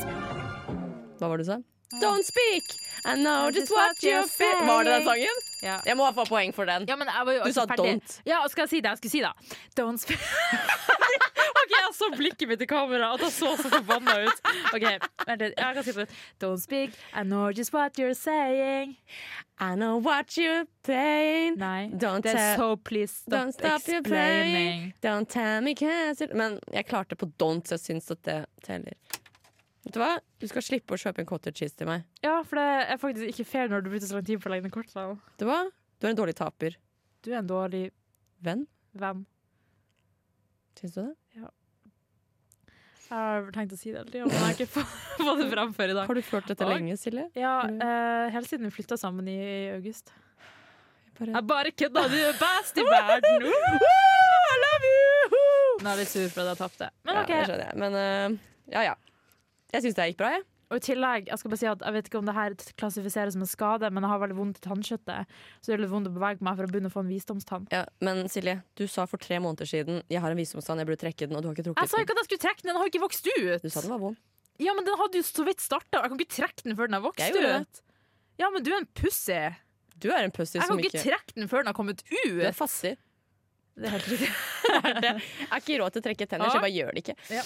Hva var det du sa? Ah. Don't speak! I know just what you feel. Var det den sangen? Ja. Jeg må få poeng for den. Ja, men jeg var jo Du sa ikke ferdig. don't. Ja, og skal jeg si det jeg skulle si, da? Don't sp... OK, jeg så blikket mitt i kamera, og det så så forbanna ut. OK, vent litt. Jeg kan si det. Don't speak, I know just what you're saying. I know what you're playing. Nei. Don't det er tell- so please stop, Don't stop your explaining. playing. Don't tell me cancer. Men jeg klarte på don't, så jeg syns at det teller. Vet du hva? Du skal slippe å kjøpe en cottage cheese til meg. Ja, for det er faktisk ikke fair når du bruker så lang tid på å legge ned kort. da. Vet du hva? Du er en dårlig taper. Du er en dårlig Venn, venn. syns du det? Jeg har tenkt å si det hele tida, men jeg har ikke fått- fått det fram før i dag. Har du følt dette Oi. lenge, Silje? Ja, eh, Helt siden vi flytta sammen i august. Jeg Jeg bare kødda, du er best i verden! Woo! I love you! Nå er jeg litt sur for at jeg tapte. Men Ja, OK. det skjønner jeg. Men eh, ja, ja. Jeg syns det gikk bra, jeg. Og i tillegg, jeg skal bare si at jeg vet ikke om det her klassifiseres som en skade, men jeg har veldig vondt i tannkjøttet. Så det er litt vondt å bevege meg for å begynne å få en visdomstann. Ja, men Silje, du sa for tre måneder siden Jeg har en visdomstann, jeg burde trekke den, og du har ikke trukket Altså, den. Jeg sa ikke at jeg skulle trekke den, den har jo ikke vokst ut! Du sa den var vond. Ja, men den hadde jo så vidt starta, jeg kan ikke trekke den før den har vokst Jeg gjorde ut. Ja, men du er en pussy. Jeg Du er en pussy som kan ikke trekke den før den har kommet ut. Du er fattig. Det er helt riktig. Jeg har ikke råd til å trekke tenner, så jeg bare gjør det ikke. Ja.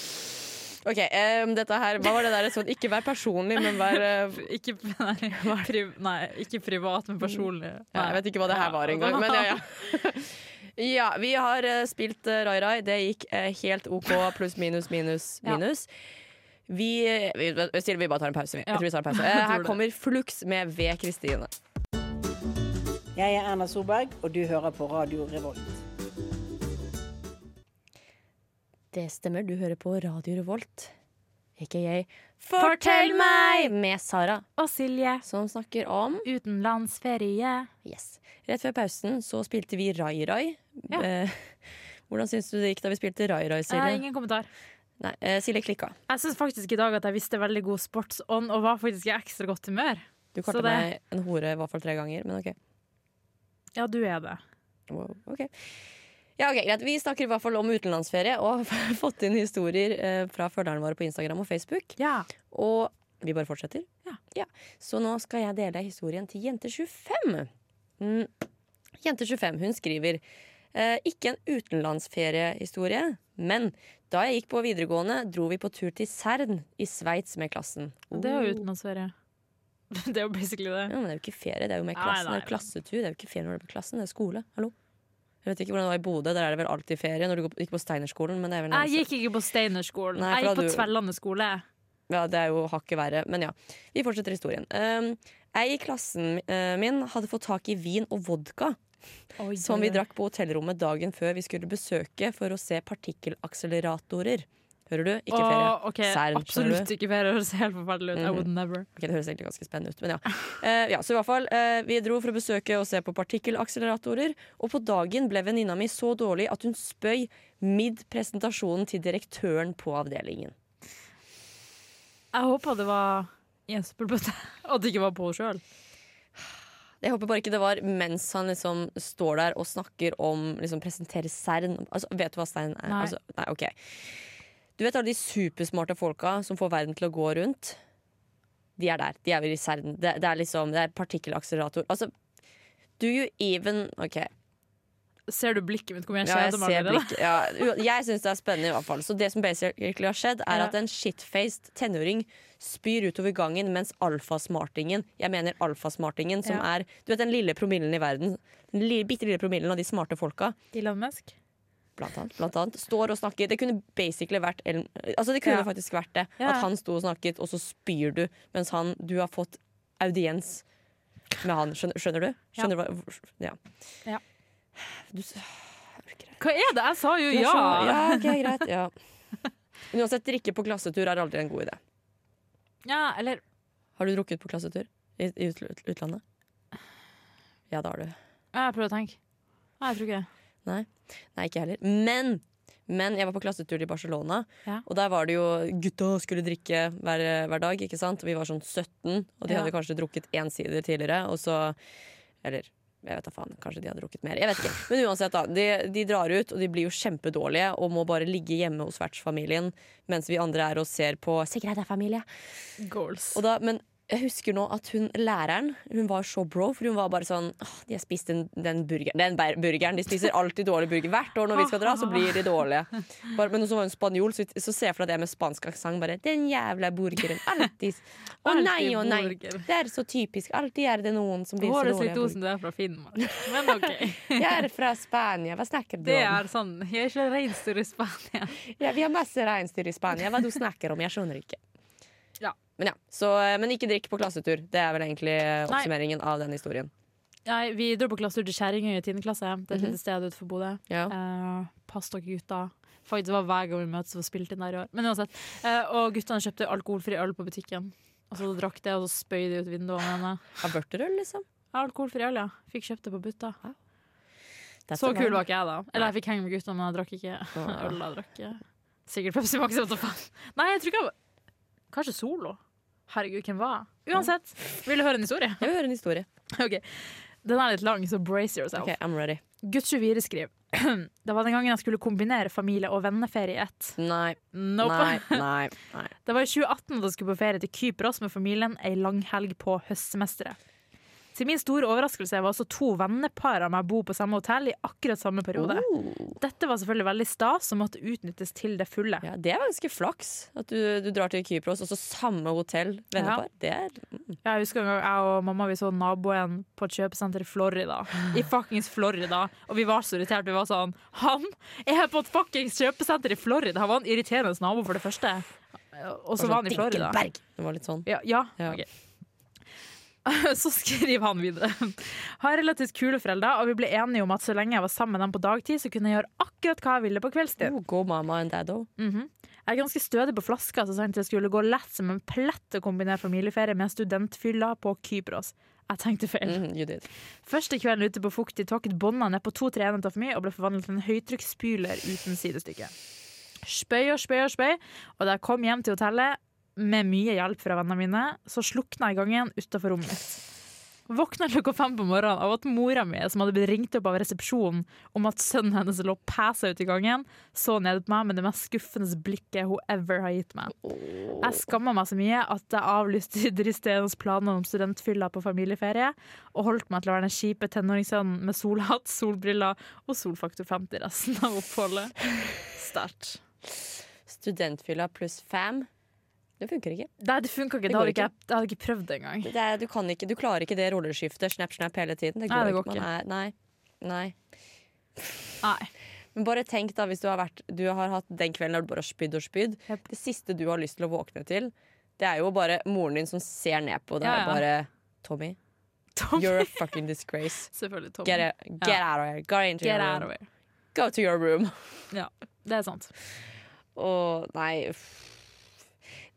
Ok, em, dette her, Hva var det der sånn Ikke vær personlig, men vær eh, Ikke, nei, pri, nei, ikke privat, men personlig. ja, Jeg vet ikke hva det her var engang, men ja, ja. Ja, vi har eh, spilt eh, Rai Rai. Det gikk eh, helt OK, pluss, minus, minus, Ja. minus. Vi, eh, vi, Silje, vi bare tar en pause. Vi. Ja. Jeg tror vi tar en pause. Jeg Eh, tror Her det. kommer Flux med V. Kristine. Jeg er Erna Solberg, og du hører på Radio Revolt. Det stemmer, du hører på Radio Revolt. Ikke jeg. Fortell meg! Med Sara, Og Silje, som snakker om utenlandsferie. Yes. Rett før pausen så spilte vi Rai Rai. Ja. Eh, hvordan syns du det gikk da vi spilte Rai Rai, Eh, Silje? ingen kommentar. Nei, eh, Silje klikka. Jeg syns faktisk i dag at jeg visste veldig god sportsånd og var faktisk i ekstra godt humør. Du Så kalte det- meg en hore i hvert fall tre ganger, men OK. Ja, du er det. Wow, ok. Ja, ok, greit. Vi snakker i hvert fall om utenlandsferie og har fått inn historier eh, fra følgerne våre på Instagram og Facebook. Ja. Og vi bare fortsetter. Ja. Så nå skal jeg dele historien til Jente25. Mm. Jente25 hun skriver eh, ikke en utenlandsferiehistorie, men da jeg gikk på videregående, dro vi på tur til Cern i Sveits med klassen. Oh. Det er jo utenlandsferie. Oh. Det er jo basically det. Ja, men det er jo ikke ferie, det er jo med Nei, klassen. nei, det er jo klassetur, det er jo ikke ferie når du er på klassen, det er skole. Hallo? Jeg vet ikke hvordan det var i Bodø, der er det vel alltid ferie når du går på- gikk på Steinerskolen, men det er vel Jeg gikk ikke på Steinerskolen. Nei, for Jeg gikk da på du- Tvellane skole. Ja, det er jo hakket verre, men ja. Vi fortsetter historien. Um, jeg i klassen eh, min hadde fått tak i vin og vodka som vi drakk på hotellrommet dagen før vi skulle besøke for å se partikkelakseleratorer. Hører du? Ikke ferie. Åh, ok, Cern, skjønner Mhm. absolutt ikke ferie. Det høres helt forferdelig ut. I would never. Ok, Det høres egentlig ganske spennende ut, men ja. Eh, ja så i hvert fall, eh, vi dro for å besøke og se på partikkelakseleratorer, og på dagen ble venninna mi så dårlig at hun spøy midd presentasjonen til direktøren på avdelingen. Jeg håper det var i en søppelbøtte, og at det ikke var på henne sjøl. Jeg håper bare ikke det var mens han liksom står der og snakker om liksom presenterer Cern. Altså, vet du hva Stein er? Nei. Altså, nei, ok. Du vet alle de supersmarte folka som får verden til å gå rundt? De er der. De er vel i Cern. Det, det er liksom det er partikkelakselerator. Altså, do you even OK. Ser du blikket mitt? Hvor mye jeg Ja, jeg kjeder meg ser allerede? blikk. Ja, u- jeg syns det er spennende, i hvert fall. Så det som basically har skjedd, er Ja. at en shitfaced tenåring spyr utover gangen mens alfasmartingen, jeg mener alfasmartingen, som Ja. er du vet, den lille promillen i verden, den li, bitte lille promillen av de smarte folka, Elon Musk? blant annet, blant annet, står og snakker. Det kunne basically vært Ellen- Altså, det kunne Ja. faktisk vært det. Ja. At han sto og snakket, og så spyr du mens han Du har fått audiens med han. Skjønner, skjønner du? Ja. Skjønner du hva Ja. Ja. Du, s- Hva er det? Jeg sa jo ja. ja! ja ok, greit. Ja. Men Uansett, drikke på klassetur er aldri en god idé. Ja, eller Har du drukket på klassetur i, i utl- ut, utlandet? Ja, det har du. Jeg prøver å tenke. Nei, jeg tror ikke det. Nei, ikke jeg heller. Men! Men jeg var på klassetur til Barcelona, Ja. og der var det jo gutta skulle drikke hver, hver dag. ikke sant? Og vi var sånn 17, og de Ja. hadde kanskje drukket én sider tidligere. Og så Eller jeg vet da faen, kanskje de hadde drukket mer. Jeg vet ikke. Men uansett, da. De, de drar ut, og de blir jo kjempedårlige og må bare ligge hjemme hos vertsfamilien mens vi andre er og ser på Sikkerhet er familie. Goals. Og da, men jeg husker nå at hun læreren Hun var så bro, for hun var bare sånn Åh, De har spist den, den burgeren Den bær- burgeren, de spiser alltid dårlig burger Hvert år når vi skal dra, så blir de dårlige bare, Men så var hun spanjol, så, så ser jeg for deg det med spansk aksang Bare, den jævla burgeren, alltid Å nei, å nei Alltid burger. Det er så typisk, alltid er det noen som blir så Håret dårlige ser litt ut som burger. det er fra Finnmark, men OK. Jeg er fra Spania, hva snakker du Det om? er sånn. Jeg er ikke reinsdyr i Spania. Ja, vi har masse reinsdyr i Spania. Hva du snakker om, jeg skjønner ikke. Ja. Men, ja. Så, eh, men ikke drikk på klassetur. Det er vel egentlig eh, Nei. oppsummeringen av den historien. Nei, vi dro på klassetur til Kjerringøy i 10. klasse. Det er et lite sted utenfor Bodø. Mhm. Ja. Eh, pass dere, gutta. Faktisk var hver gang vi møtes og spilte inn der i år. Men uansett. Eh, og guttene kjøpte alkoholfri øl på butikken. Og så drakk det, og så spøy de ut vinduene. Av vørterøl, liksom. Ja, Alkoholfri øl, ja. Fikk kjøpt det på Butta. That's Så a kul line. var ikke jeg, da. Eller jeg fikk henge med gutta, men jeg drakk ikke Åh. øl. jeg drakk eh, Sikkert Pepsi Max. Vet du faen. Nei, jeg tror ikke jeg var Kanskje Solo. Herregud, hvem var jeg? Uansett, vil du høre en historie? Jeg vil høre en historie. Ok. Den er litt lang, så brace yourself. Ok, I'm ready. Gutt 24 skriver Det var den gangen jeg skulle kombinere familie og venneferie i ett. Nei, Nope. nei, nei. nei. Det var i 2018 da jeg skulle på ferie til Kypros med familien ei langhelg på høstsemesteret. Til min store overraskelse var også to vennepar av meg bo på samme hotell i akkurat samme periode. Dette var selvfølgelig veldig stas og måtte utnyttes til det fulle. Ja, det er ganske flaks at du, du drar til Kypros, og så samme hotell, vennepar. Det er altså, Jeg husker en gang jeg og mamma vi så naboen på et kjøpesenter i Florida. I fuckings Florida. Og vi var så irritert. Vi var sånn Han er på et fuckings kjøpesenter i Florida! Han var en irriterende nabo, for det første. Og Altså, så var han i Florida. Dinkelberg. Det var litt sånn. Ja, ja. Ja. ok. Så skriver han videre. Har relativt kule foreldre, og vi ble enige om at så lenge jeg var sammen med dem på dagtid, så kunne jeg gjøre akkurat hva jeg ville på kveldstid. Oh, go mama and dad òg. Jeg er ganske stødig på flaska, så sant det skulle gå lett som en plett å kombinere familieferie med studentfylla på Kypros. Jeg tenkte feil. Mm, you did. Første kvelden ute på fuktig tåket bånda ned på to-tre enheter for mye og ble forvandlet til en høytrykksspyler uten sidestykke. Spøy og spøy og spøy, og da jeg kom hjem til hotellet, med mye hjelp fra vennene mine, så slukna jeg gangen utafor rommet mitt. Våkna klokka fem på morgenen av at mora mi, som hadde blitt ringt opp av resepsjonen om at sønnen hennes lå pæsa ute i gangen, så ned på meg med det mest skuffende blikket hun ever har gitt meg. Jeg skamma meg så mye at jeg avlyste Idris Steens planer om studentfylla på familieferie, og holdt meg til å være den kjipe tenåringssønnen med solhatt, solbriller og solfaktor 50 resten av oppholdet. Sterkt. Studentfylla pluss fam. Det funker ikke. Nei, det funka ikke. Det Det går hadde ikke, jeg- jeg hadde ikke prøvd det engang. Det er, du, kan ikke. du klarer ikke det rolleskiftet snap, snap hele tiden. Det Nei, det går går ikke. Man er, nei, nei. Nei. Men bare tenk da, hvis du har, vært, du har hatt den kvelden der du bare har spydd og spydd. Jep. Det siste du har lyst til å våkne til, det er jo bare moren din som ser ned på deg Ja, ja. og bare Tommy, Tommy. you're a fucking disgrace. Selvfølgelig Tommy. Get, a, get out of here. Go into Get your out room. of here. Go to your room. Ja, det er sant. Og nei uff.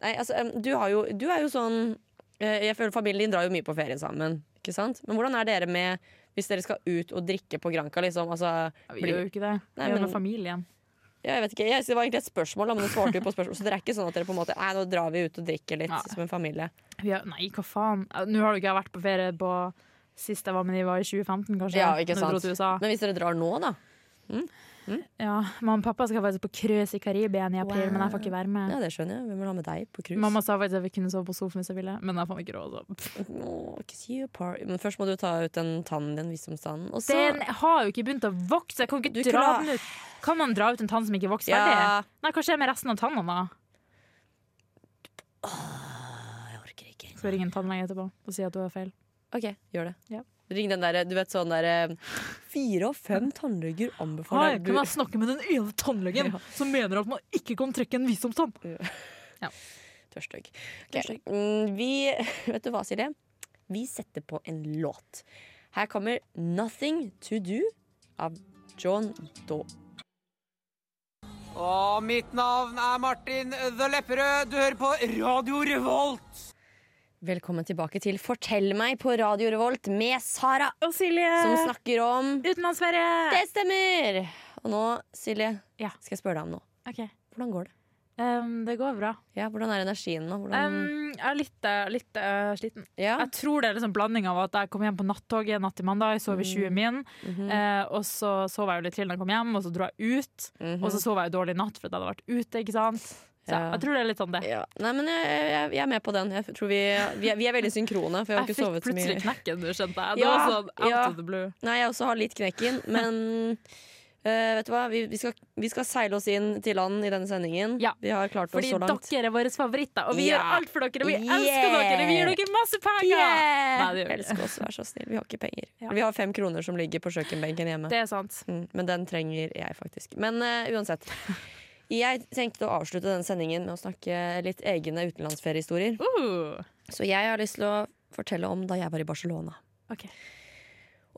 Nei, altså, em, du, har jo, du er jo sånn eh, Jeg føler familien din drar jo mye på ferie sammen. Ikke sant? Men hvordan er dere med hvis dere skal ut og drikke på Granca? Liksom? Altså, Ja, vi blir- gjør jo ikke det. Vi Nei, er jo men- med familien. ja, jeg vet ikke, jeg, Det var egentlig et spørsmål, da, men du svarte jo på spørsmål. Så dere er ikke sånn at dere på en måte Nei, nå drar vi ut og drikker litt Nei. som en familie. Vi er, nei, hva faen. Nå har jo ikke jeg vært på ferie på Sist jeg var med de var i 2015, kanskje. Ja, ikke Når jeg dro sant? til USA. Men hvis dere drar nå, da? Ja, Mamma og pappa skal faktisk på cruise i Karibia i april, men jeg får ikke være med. Ja, det skjønner jeg. Hvem vil ha med deg på cruise? Mamma sa faktisk at vi kunne sove på sofaen hvis jeg ville, men jeg fant ikke råd. Så. Åh, kiss you apart. Men først må du ta ut den tannen din, visdomstannen. Og så Den har jo ikke begynt å vokse! Jeg kan Du kunne ikke dra ha- den ut. Kan man dra ut en tann som ikke vokser Ja. ferdig? Nei, hva skjer med resten av tannene da? Jeg orker ikke. Skal vi ringe en tannlege etterpå og si at du har feil? Ok, gjør det. Ja. Ring den derre, du vet sånn derre Fire av fem tannleger anbefaler Hei, du kan jeg snakke med den ene tannlegen som mener at man ikke kan trekke en visdomstann? Tørstøgg. Mm, vi Vet du hva, Silje? Vi setter på en låt. Her kommer 'Nothing To Do' av John Doe. Og mitt navn er Martin The Lepperød. Du hører på Radio Revolt. Velkommen tilbake til Fortell meg på Radio Revolt med Sara, Og Silje! som snakker om Utenlandsferie! Det stemmer! Og nå, Silje, Ja. skal jeg spørre deg om noe. Ok, Hvordan går det? um, Det går bra. Ja, Hvordan er energien nå? Hvordan, Um, jeg er litt, eh, litt eh, sliten. ja? Jeg tror det er liksom blanding av at jeg kom hjem på nattoget natt til mandag, jeg Mm. sov i 20 min, Mhm. eh, og så sov jeg jo litt til når jeg kom hjem, og så dro jeg ut, Mhm. og så sov jeg jo dårlig i natt for at jeg hadde vært ute, ikke sant? Så Ja. jeg tror det er litt sånn det. ja. Nei, men jeg, jeg, jeg er med på den. Jeg tror vi, vi, er, vi er veldig synkrone, for jeg har Jeg ikke fikk sovet så mye. plutselig knekken, du skjønte jeg. Det Ja, var sånn out ja. of the blue. Nei, jeg også har litt knekken, men eh, vet du hva? Vi, vi, skal, vi skal seile oss inn til land i denne sendingen. Ja. Vi har klart oss Fordi så langt. dere er våre favoritter, og vi Ja. gjør alt for dere, og vi Yeah. elsker dere, vi gir dere masse penger! Nei, det gjør vi ikke. Elsker oss, vær så snill. Vi har ikke penger. Ja. Vi har fem kroner som ligger på kjøkkenbenken hjemme. Det er sant. Mm, men den trenger jeg faktisk. Men eh, uansett. Jeg tenkte å avslutte denne sendingen med å snakke litt egne utenlandsferiehistorier. Uh, Så jeg har lyst til å fortelle om da jeg var i Barcelona. Ok.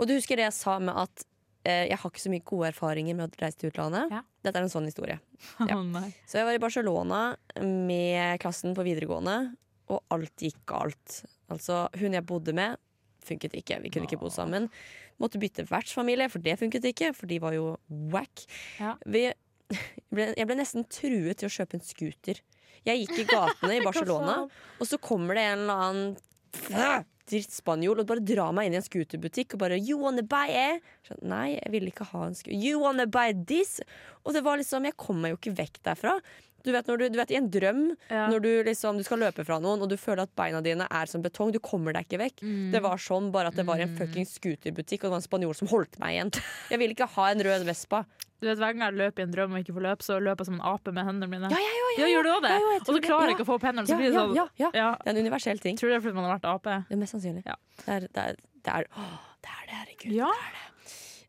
Og du husker det jeg sa med at eh, jeg har ikke så mye gode erfaringer med å reise til utlandet? Ja. Dette er en sånn historie. Ja. å nei. Så jeg var i Barcelona med klassen på videregående, og alt gikk galt. Altså, hun jeg bodde med, funket ikke. Vi kunne ikke bo sammen. Måtte bytte vertsfamilie, for det funket ikke, for de var jo whack. Ja. Vi ble, jeg ble nesten truet til å kjøpe en scooter. Jeg gikk i gatene i Barcelona, og så kommer det en eller annen drittspanjol og bare drar meg inn i en scooterbutikk og bare You wanna buy eh? Sånn, Nei, jeg ville ikke ha en scooter. You wanna buy this? Og det var liksom, jeg kom meg jo ikke vekk derfra. Du vet, når du, du vet i en drøm, Ja. når du liksom du skal løpe fra noen og du føler at beina dine er som betong, du kommer deg ikke vekk. Mm. Det var sånn, bare at det var i en fucking scooterbutikk, og det var en spanjol som holdt meg igjen. Jeg ville ikke ha en rød Vespa. Du vet, Hver gang jeg løper i en drøm og ikke får løpe, så løper jeg som en ape med hendene mine. Ja, ja, ja, ja, Ja, gjør du også det? Ja, ja, jeg og tror så det. klarer Ja. jeg ikke å få opp hendene, så Ja, blir det ja, sånn ja, ja. Ja. Det er en universell ting. Tror du det er fordi man har vært ape? Det er mest sannsynlig. Ja. Det er det, er, det, er, åh, det er det, herregud. Ja.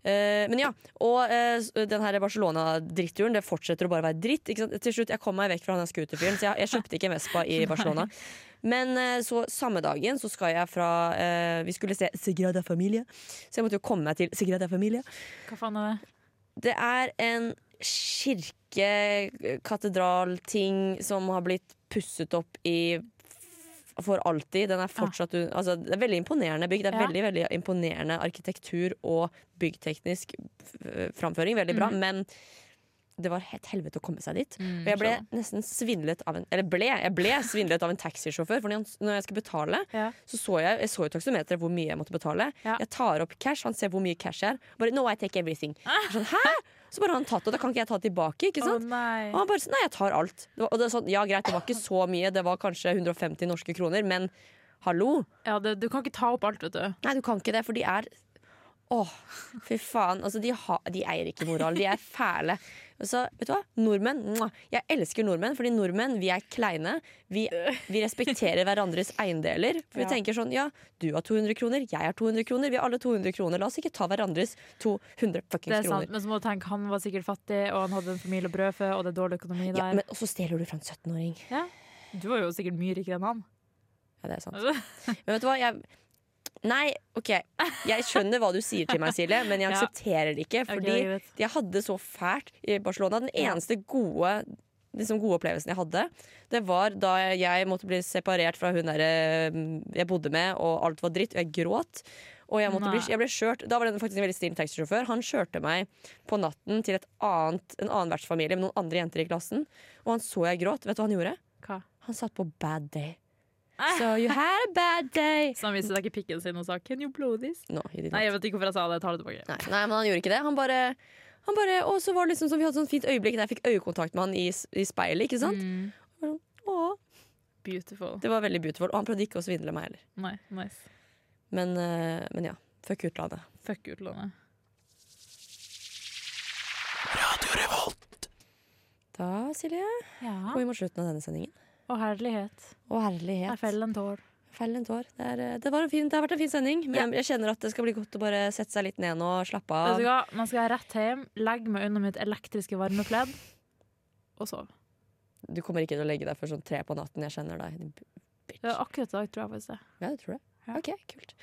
Eh, men ja, og eh, s- den her Barcelona-dritturen Det fortsetter å bare være dritt. Ikke sant? Til slutt, Jeg kom meg vekk fra den scooterfyren, så jeg, jeg kjøpte ikke en Vespa i Barcelona. Men eh, så samme dagen så skal jeg fra eh, Vi skulle se Sagrada Familia, så jeg måtte jo komme meg til Sagrada Familia. Hva faen er det? Det er en kirkekatedralting som har blitt pusset opp i for alltid. Den er fortsatt un- altså, Det er veldig imponerende bygg. Det er Ja. veldig, veldig imponerende arkitektur og byggteknisk f- framføring. Veldig Mm. bra. Men det var et helvete å komme seg dit. Og jeg ble nesten svindlet av en Eller ble, jeg ble svindlet av en taxisjåfør. For når han- når jeg skulle betale, Ja. så så jeg, jeg så jo taksometeret hvor mye jeg måtte betale. Ja. Jeg tar opp cash, han ser hvor mye cash jeg er. Bare, no, I take everything. Jeg er Sånn, Hæ? Så bare har han tatt det, da kan ikke jeg ta det tilbake. ikke sant? nei. Og han bare sånn, nei, jeg tar alt. Det var, og det er sånn, ja, greit, det var ikke så mye, det var kanskje 150 norske kroner, men hallo? Ja, det, du kan ikke ta opp alt, vet du. Nei, du kan ikke det, for de er Åh, fy faen. Altså, de, ha, de eier ikke moral. De er fæle. Og så, vet du hva? Nordmenn. mwah. Jeg elsker nordmenn, fordi nordmenn vi er kleine. Vi, vi respekterer hverandres eiendeler. For Vi tenker sånn ja, du har 200 kroner, jeg har 200 kroner, vi har alle 200 kroner. La oss ikke ta hverandres 200 Det fuckings er sant, kroner. Men så må du tenke, han var sikkert fattig, og han hadde en familie å brødfø, og det er dårlig økonomi Ja, der. men, og så stjeler du fra en 17-åring. Du var jo sikkert mye rikere enn han. Ja, det er sant. Altså, Men vet du hva? Jeg, nei, OK. Jeg skjønner hva du sier til meg, Silje, men jeg Ja. aksepterer det ikke. Ok, Fordi greit. jeg hadde det så fælt i Barcelona. Den eneste gode Liksom gode opplevelsen jeg hadde, det var da jeg måtte bli separert fra hun der eh, jeg bodde med, og alt var dritt, og jeg gråt. Og jeg, måtte bli, Nei. jeg ble kjørt Da var det faktisk en veldig snill taxisjåfør. Han kjørte meg på natten til et annet, en annen vertsfamilie med noen andre jenter i klassen, og han så jeg gråt. Vet du hva han gjorde? Hva? Ah. Han satt på Bad Day. So you had a bad day. Så han viste deg ikke pikken sin og sa 'can you blow this'? No, he did Nei, not. jeg vet ikke hvorfor jeg sa det. Jeg tar det tilbake. Nei, nei, men han gjorde ikke det. Han bare, han bare Og så var det liksom sånn, vi hadde sånn fint øyeblikk der jeg fikk øyekontakt med han i, s- i speilet. ikke sant? Og jeg var sånn, Åh, Mm. Beautiful. det var veldig beautiful. Og han prøvde ikke å svindle meg heller. Nei, nice. Men, eh, men ja. Fuck utlandet. Fuck utlandet. Da, Silje, Ja. går vi mot slutten av denne sendingen. Og herlighet. Å, herlighet. Jeg feller en tår. Fell en tår. Det, er, eh, det, var en fin, det har vært en fin sending, men jeg kjenner at det skal bli godt å bare sette seg litt ned nå og slappe Vet av. du hva? Man skal rett hjem, legge meg under mitt elektriske varmepledd, og sove. Du kommer ikke til å legge deg før sånn tre på natten. Jeg kjenner deg. din Bitch. Det var akkurat i dag, tror jeg faktisk det. Ja, det tror jeg. Ja. Ok, kult.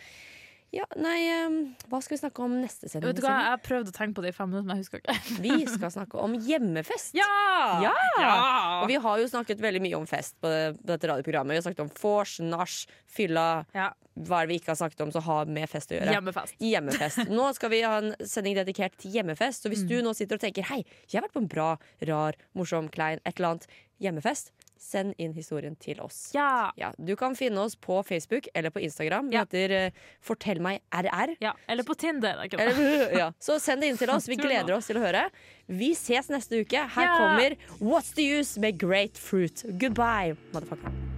Ja, nei, ehm, hva skal vi snakke om neste sending? Vet du hva, jeg har prøvd å tenke på det i fem minutter, men jeg husker ikke. Silje? Vi skal snakke om hjemmefest. Ja! Ja! Og vi har jo snakket veldig mye om fest på, på dette radioprogrammet. Vi har snakket om vors, nach, fylla. Ja. Hva er det vi ikke har snakket om som har med fest å gjøre? Hjemmefest. Hjemmefest. Nå skal vi ha en sending dedikert til hjemmefest. Mm. Så hvis du nå sitter og tenker Hei, jeg har vært på en bra, rar, morsom, klein, et eller annet hjemmefest, send inn historien til oss. Ja. Ja, Du kan finne oss på Facebook eller på Instagram. Vi Ja. heter eh, Fortell meg RR. ja. Eller på Tinder. Det er ikke det. Eller- ja. Så send det inn til oss. Vi gleder oss til å høre. Vi ses neste uke. Her Ja. kommer What's the use med Great Fruit. Goodbye, motherfucker.